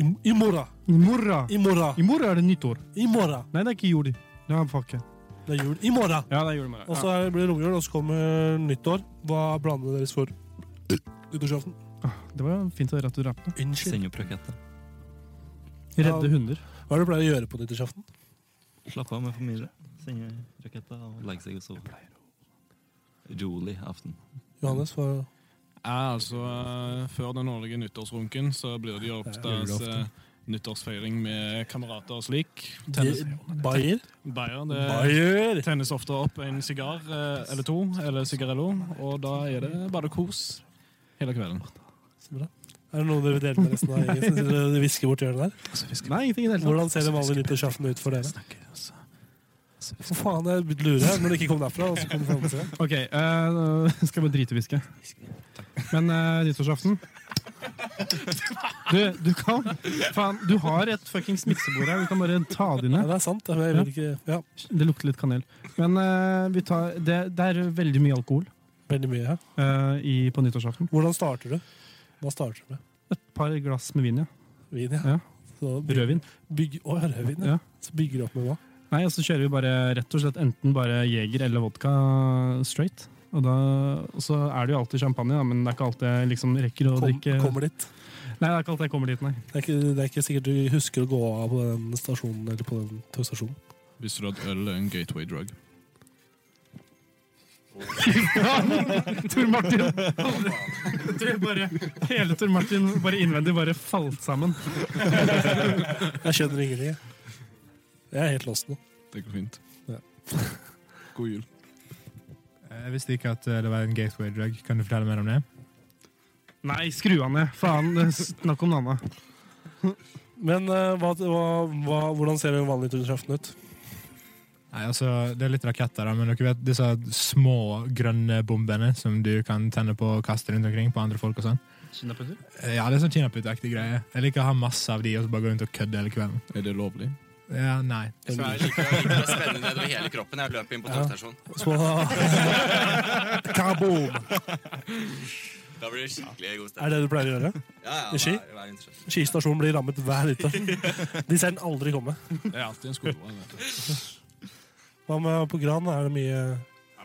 S1: I, I morgen.
S2: I morgen.
S1: I morgen.
S2: er det nytt år.
S1: I morgen.
S2: Nei, det er ikke jul. Det er fuck it.
S1: Det er jul i morgen.
S2: Ja, det er jul i morgen.
S1: Og så er- blir det romjul, og så kommer nyttår. Hva er planene deres for nyttårsaften?
S2: Ah, Det var jo fint å høre at du rappet.
S1: Unnskyld.
S18: Seng og prakette.
S2: Redde hunder.
S1: Hva er det du pleier å gjøre på nyttårsaften?
S18: Slapp av med familie. Senge raketta og legge seg og sove. Rolig aften.
S1: Johannes? Hva?
S9: Ja, altså, eh, Før den årlige nyttårsrunken så blir det jo oppstått
S1: Julaften.
S9: eh, nyttårsfeiring med kamerater og slik.
S1: Ge- Bayer?
S9: Bayer, det
S1: Bayer!
S9: tennes ofte opp en sigar eh, eller to, eller sigarello, og da er det bare kos hele kvelden.
S1: Så bra. Er det noe dere vil dele med resten av gjengen? Som sitter og hvisker bort hjørnet der?
S2: Nei, ingenting i det hele tatt.
S1: Hvordan ser en vanlig nyttårsaften ut for dere?
S2: altså.
S1: For faen, jeg lurer her, når det ikke kom derfra. Og så kom det fra andre siden.
S2: Ok, eh, skal jeg bare drite i å hviske. Men eh, nyttårsaften du, du kan Faen, du har et fucking miksebord her. Du kan bare ta det inn.
S1: Ja, det er sant. men Jeg vil ikke, ja.
S2: Det lukter litt kanel. Men eh, vi tar, det, det er veldig mye alkohol
S1: Veldig mye, ja.
S2: eh, i, på nyttårsaften.
S1: Hvordan starter du? Hva starter du med?
S2: Et par glass med vin, ja.
S1: Vin, ja.
S2: ja.
S1: Så byg-
S2: Rødvin.
S1: Bygg, å, rødvin,
S2: Ja.
S1: ja. Så bygger du opp med hva?
S2: Nei, og så kjører vi bare rett og slett enten bare Jeger eller vodka straight. Og, da, og så er det jo alltid champagne, da, men det er ikke alltid jeg liksom rekker å
S1: Kom,
S2: drikke
S1: Kommer dit.
S2: Nei, det er ikke alltid jeg kommer dit, nei.
S1: Det er, ikke, det er ikke sikkert du husker å gå av på den stasjonen eller på den togstasjonen.
S11: Visste du at øl er en gateway drug?
S2: Tor Martin! Du bare, hele Tor Martin bare innvendig bare falt sammen.
S1: Jeg skjønner ingenting. jeg. Jeg er helt lost nå.
S11: Det går fint.
S1: Ja.
S11: God jul.
S19: Jeg visste ikke at eh, det var en gateway drug. Kan du fortelle mer om det?
S2: Nei, skru han ned. Faen, det- snakk om noe annet.
S1: Men eh, hva, hva, hva, hvordan ser en vanlig nyttårsaften ut?
S19: Nei, altså, Det er litt raketter, da, men dere vet disse små grønne bombene som du kan tenne på og kaste rundt omkring på andre folk og sånn?
S2: Kinaputter?
S19: Ja, det er sånn kinaputt-aktig greie. Jeg liker å ha masse av de og så bare gå rundt og kødde hele kvelden.
S11: Er det lovlig?
S19: Ja, nei.
S8: Jeg liker, jeg liker det spennende nedover hele kroppen. Jeg løper inn på togstasjonen.
S1: Så- Kaboom!
S8: Da blir det skikkelig god stemning.
S1: Er det det du pleier å gjøre?
S8: Ja, ja,
S1: I Ski?
S8: hver- hver nyttårsaften.
S1: Skistasjonen blir rammet hver ute. De ser den aldri komme.
S9: Det er alltid en skole.
S1: Hva med på Gran? Er det mye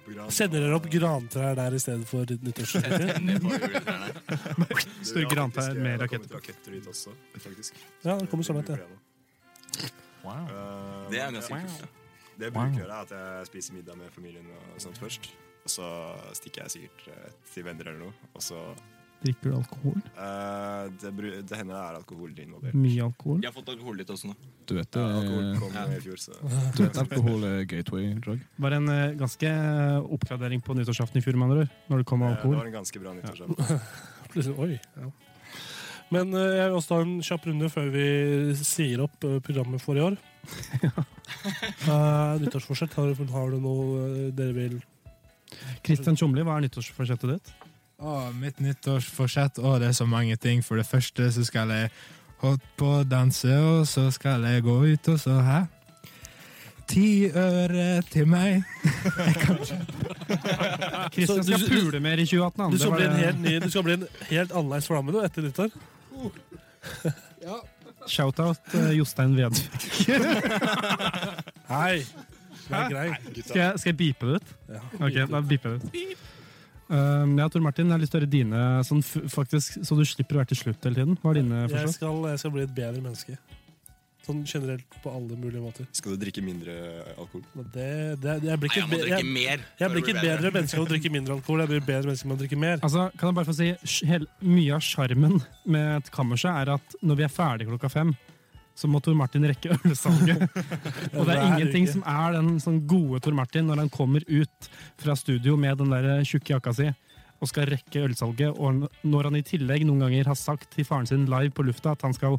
S9: på Gran-
S1: Sender dere opp grantrær der i stedet for
S14: Tenner på
S1: nyttårsfeiring?
S14: juletrærne.
S2: Store grantrær med
S14: Det har
S2: raketter.
S14: kommet raketter hit også, faktisk.
S1: Ja, det kommer så langt, ja.
S14: Eh,
S8: Det er ganske kult,
S14: Det jeg
S1: Wow.
S14: bruker jeg er at jeg spiser middag med familien og sånt først. Og så stikker jeg sikkert eh, til venner eller noe. Og så
S2: Drikker du alkohol?
S14: eh, det, bru- det hender det er alkohol involvert.
S2: Mye alkohol?
S8: Jeg har fått alkohol litt også nå.
S11: Du vet det
S14: Ja, alkohol kom
S11: er-
S14: i fjor, så
S11: Du vet alkohol er gateway drug?
S2: Var en eh, ganske oppgradering på nyttårsaften i fjor, med andre ord, når det kom
S14: Eh, Det
S2: alkohol.
S14: var en ganske bra
S1: Ja.
S14: nyttårsaften.
S1: Plutselig, oi. Ja. Men eh, jeg vil også ta en kjapp runde før vi sier opp eh, programmet for i år. Eh, nyttårsforsett, har, du- har du noe eh, dere vil
S2: Kristian Tjomli, hva er nyttårsforsettet ditt?
S19: Å, mitt nyttårsforsett. Å, det er så mange ting. For det første så skal jeg hoppe på og danse, og så skal jeg gå ut, og så hæ? Ti øre til meg. Jeg kan ikke
S2: Kristian
S1: Så du-
S2: skal pule mer i 2018. han.
S1: Du
S2: Det
S1: skal,
S2: var
S1: bli en
S2: det-
S1: helt ny, du skal bli en helt annerledes flamme du, etter nyttår.
S2: Shout-out eh, Jostein Vedvik.
S1: Hei! Det
S2: Hæ?
S1: er grei.
S2: Skal jeg, skal jeg beepe det ut?
S1: Ja,
S2: ok,
S1: beep
S2: da beeper jeg det ut. Um, ja, Tor Martin, jeg har lyst til å høre dine, sånn, f faktisk, så du slipper å være til slutt hele tiden. Hva er dine
S1: Jeg
S2: forslag?
S1: skal, jeg skal bli et bedre menneske. Sånn generelt på alle mulige måter.
S14: Skal du drikke mindre eh, alkohol?
S1: Men Det, det, jeg blir ikke,
S14: Nei, jeg må
S1: et be-
S14: drikke mer
S1: jeg blir
S14: for å
S1: ikke
S14: bli
S1: et bedre
S14: bedre.
S1: menneske av å drikke mindre alkohol. Jeg blir et bedre menneske med å drikke mer.
S2: Altså, kan jeg bare få si, sj- hel, Mye av sjarmen med et kammerset er at når vi er ferdig klokka fem, så må Tor Martin rekke ølsalget. Og det er
S1: Hver
S2: ingenting
S1: uke.
S2: som
S7: eh,
S2: er den sånn gode Tor Martin når han kommer ut fra studio med den der tjukke jakka si.
S7: og skal rekke ølsalget, og han- når han i tillegg noen ganger har sagt til faren sin live på lufta at han skal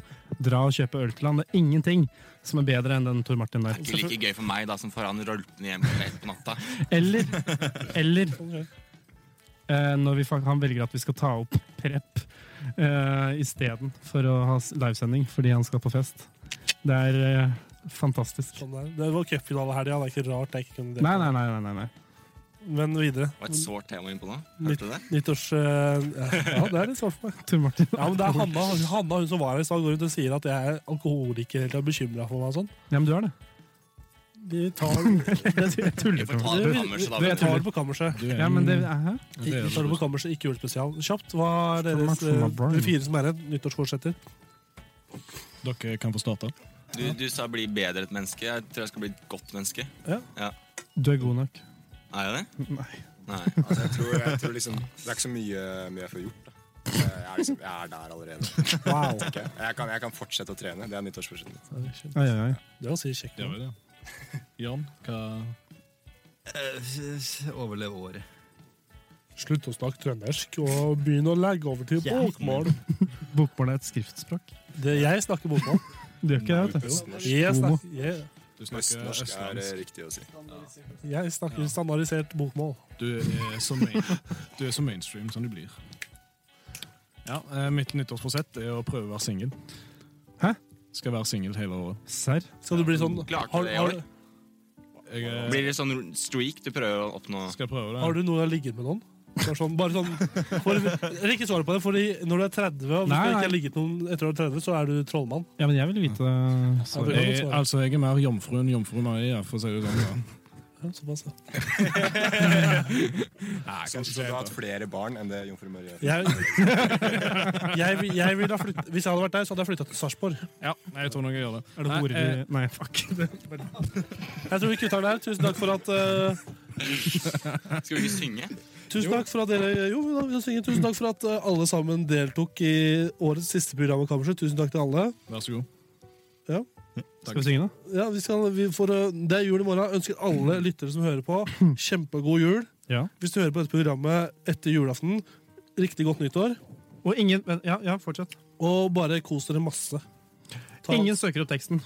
S7: dra og kjøpe øl til han, det er ingenting som er bedre enn den Tor Martin der.
S8: Ikke like gøy for meg da som for han rølpende hjemme klokka ett på natta.
S7: Eller, eller eh, når vi, fak- han velger at vi skal ta opp prep eh, isteden for å ha s- livesending fordi han skal på fest. Det er eh, fantastisk.
S1: Sånn der. Det var cupfinale her, ja. Det er ikke rart jeg ikke kunne delta.
S7: Nei, nei, nei. nei, nei, nei.
S1: Men videre.
S8: Det var et sårt tema innpå nå.
S1: Nytt,
S8: Hørte du det?
S1: nyttårs... eh, ja, det er litt sårt for meg.
S7: Tor Martin.
S1: Ja, men det er Hanna, Hanna hun som var her i stad, går rundt og sier at jeg er alkoholiker eller bekymra for meg og sånn.
S7: Ja, men du er det.
S1: Vi tar Jeg
S7: tuller på meg.
S1: Vi vi tar det på kammerset.
S7: Ja, men det, eh, hæ?
S1: Vi tar det på kammerset, ikke julespesial. Kjapt, hva
S20: Tor
S1: er deres
S20: Martin
S1: eh,
S20: var barn.
S1: dere fire som er igjen? Nyttårsforsetter?
S20: Dere kan få starte.
S8: Du, du sa bli bedre et menneske. Jeg tror jeg skal bli et godt menneske.
S1: Ja.
S7: Du er god nok.
S8: Er jeg det?
S7: Nei.
S8: Nei.
S14: Altså, jeg tror, jeg tror liksom, det er ikke så mye mye jeg får gjort. Da. Jeg er, liksom, jeg er der allerede.
S7: Wow.
S14: tenker Jeg. Jeg, kan, jeg kan fortsette å trene. Det er nyttårsforsettet mitt.
S7: Ai, ai, ai.
S1: Det var sikkert kjekt.
S21: Det var jo det. Jan, hva
S10: Overleve året.
S1: Slutt å snakke trøndersk og begynn å legge over til bokmål.
S7: Bokmål er et skriftspråk.
S1: Det, jeg snakker bokmål.
S7: Du gjør ikke det, vet du.
S1: Jo, Jeg snakker, jeg,
S9: Du snakker
S14: Østnorsk er eh,
S9: østlandsk.
S14: riktig å si.
S1: jeg snakker standardisert bokmål.
S9: Du er så, main, du er så mainstream som du blir. Ja, eh, Mitt nyttårsforsett er å prøve å være singel.
S7: Hæ?
S9: Skal være singel hele året.
S7: Serr?
S1: Skal du bli sånn
S8: Klarte
S1: har,
S8: det i
S1: har,
S8: år? Blir det sånn streak du prøver å oppnå?
S9: eh, Skal prøve
S1: har du noen gang ligget med noen? Bare sånn, bare sånn for, jeg vil ikke svare på det, Fordi når du er 30 og hvis
S7: Nei,
S1: du ikke
S7: nei.
S1: har ligget med noen etter du er 30, så er du trollmann.
S7: Ja, men jeg vil vite
S1: Ja, det
S7: svaret.
S1: kan du
S9: Jeg,
S1: svare.
S9: altså, jeg er mer jomfru enn jomfru Maria, for å si det sånn. da.
S1: Ja, såpass, ja.
S9: Sånn
S14: Så så du har hatt flere barn enn det jomfru Maria
S1: Jeg, jeg, vil- jeg vil ha flytt, hvis jeg hadde vært deg, så hadde jeg flytta til Sarpsborg.
S9: Ja, nei, jeg tror nok jeg gjør det.
S7: Er det
S9: Nei,
S7: horer
S9: eh,
S7: vi Nei, fuck.
S1: Jeg tror vi kutter den der. Tusen takk for at eh,
S8: Skal vi ikke synge?
S1: Tusen takk for at dere jo, da, vi skal synge. Tusen takk for at eh, alle sammen deltok i årets siste program av Kammerset. Tusen takk til alle.
S9: Vær så god.
S1: Ja.
S7: Skal vi synge, da?
S1: Ja, vi skal, vi får, eh, det er jul i morgen. Ønsker alle lyttere som hører på, kjempegod jul.
S7: Ja.
S1: Hvis du hører på dette programmet etter julaften, riktig godt nyttår.
S7: Og ingen men- Ja, ja fortsett.
S1: Og bare kos dere masse. Ta-
S7: Ingen søker opp teksten.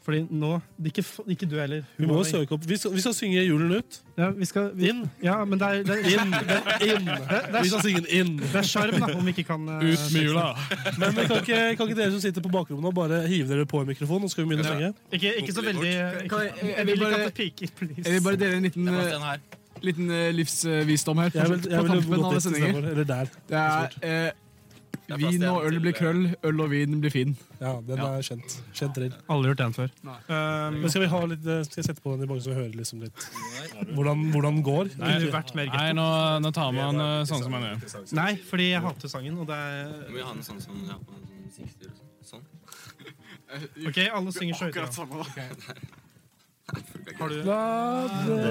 S7: Fordi nå Ikke, f- ikke du heller.
S1: Vi må jo søke opp. Vi skal, vi skal synge julen ut.
S7: Ja, vi skal vi,
S1: Inn.
S7: Ja, men det er, det er
S1: Inn.
S7: Det,
S1: Inn.
S7: er-
S1: Vi skal synge den inn.
S7: det er sjarm, da, om vi ikke kan eh,
S9: Ut med jula!
S1: Men kan ikke, kan ikke dere som sitter på bakrommet nå, bare hive dere på en mikrofon, og så skal vi begynne å synge?
S7: Ikke, ikke så veldig ikke,
S3: Kan jeg- jeg-
S7: Jeg vil ikke at det piker,
S3: Jeg vil
S7: please.
S3: bare dele en liten,
S8: Sebastian
S3: eh,
S8: her.
S3: liten eh, livsvisdom her.
S1: Jeg vil, jeg
S3: på tampen
S1: vil
S3: av
S1: gått
S3: alle
S1: dit
S3: sendinger.
S1: istedenfor. Eller der.
S3: Det er eh,
S8: er plass
S3: Vin
S8: igjen
S3: og øl
S8: til,
S3: blir
S8: eh,
S3: krøll, øl og vin blir fin.
S1: Ja, den
S8: Ja.
S1: er kjent. Kjent drill.
S7: Alle har gjort den før. Um,
S1: Men skal vi ha litt, eh, skal jeg sette på den i bakgrunnen, så vi hører liksom litt hvordan, hvordan den går?
S7: Nei, det vært mer
S9: Nei,
S7: gøy.
S9: nå, nå tar vi han eh, sånn som han er.
S7: Nei, fordi jeg hater sangen, og det er
S8: Må vi ha noe sånn som ja, på en sånn 60 eller sånn?
S7: OK, alle synger så høyt. ja. Har du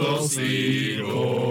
S9: Oss i går.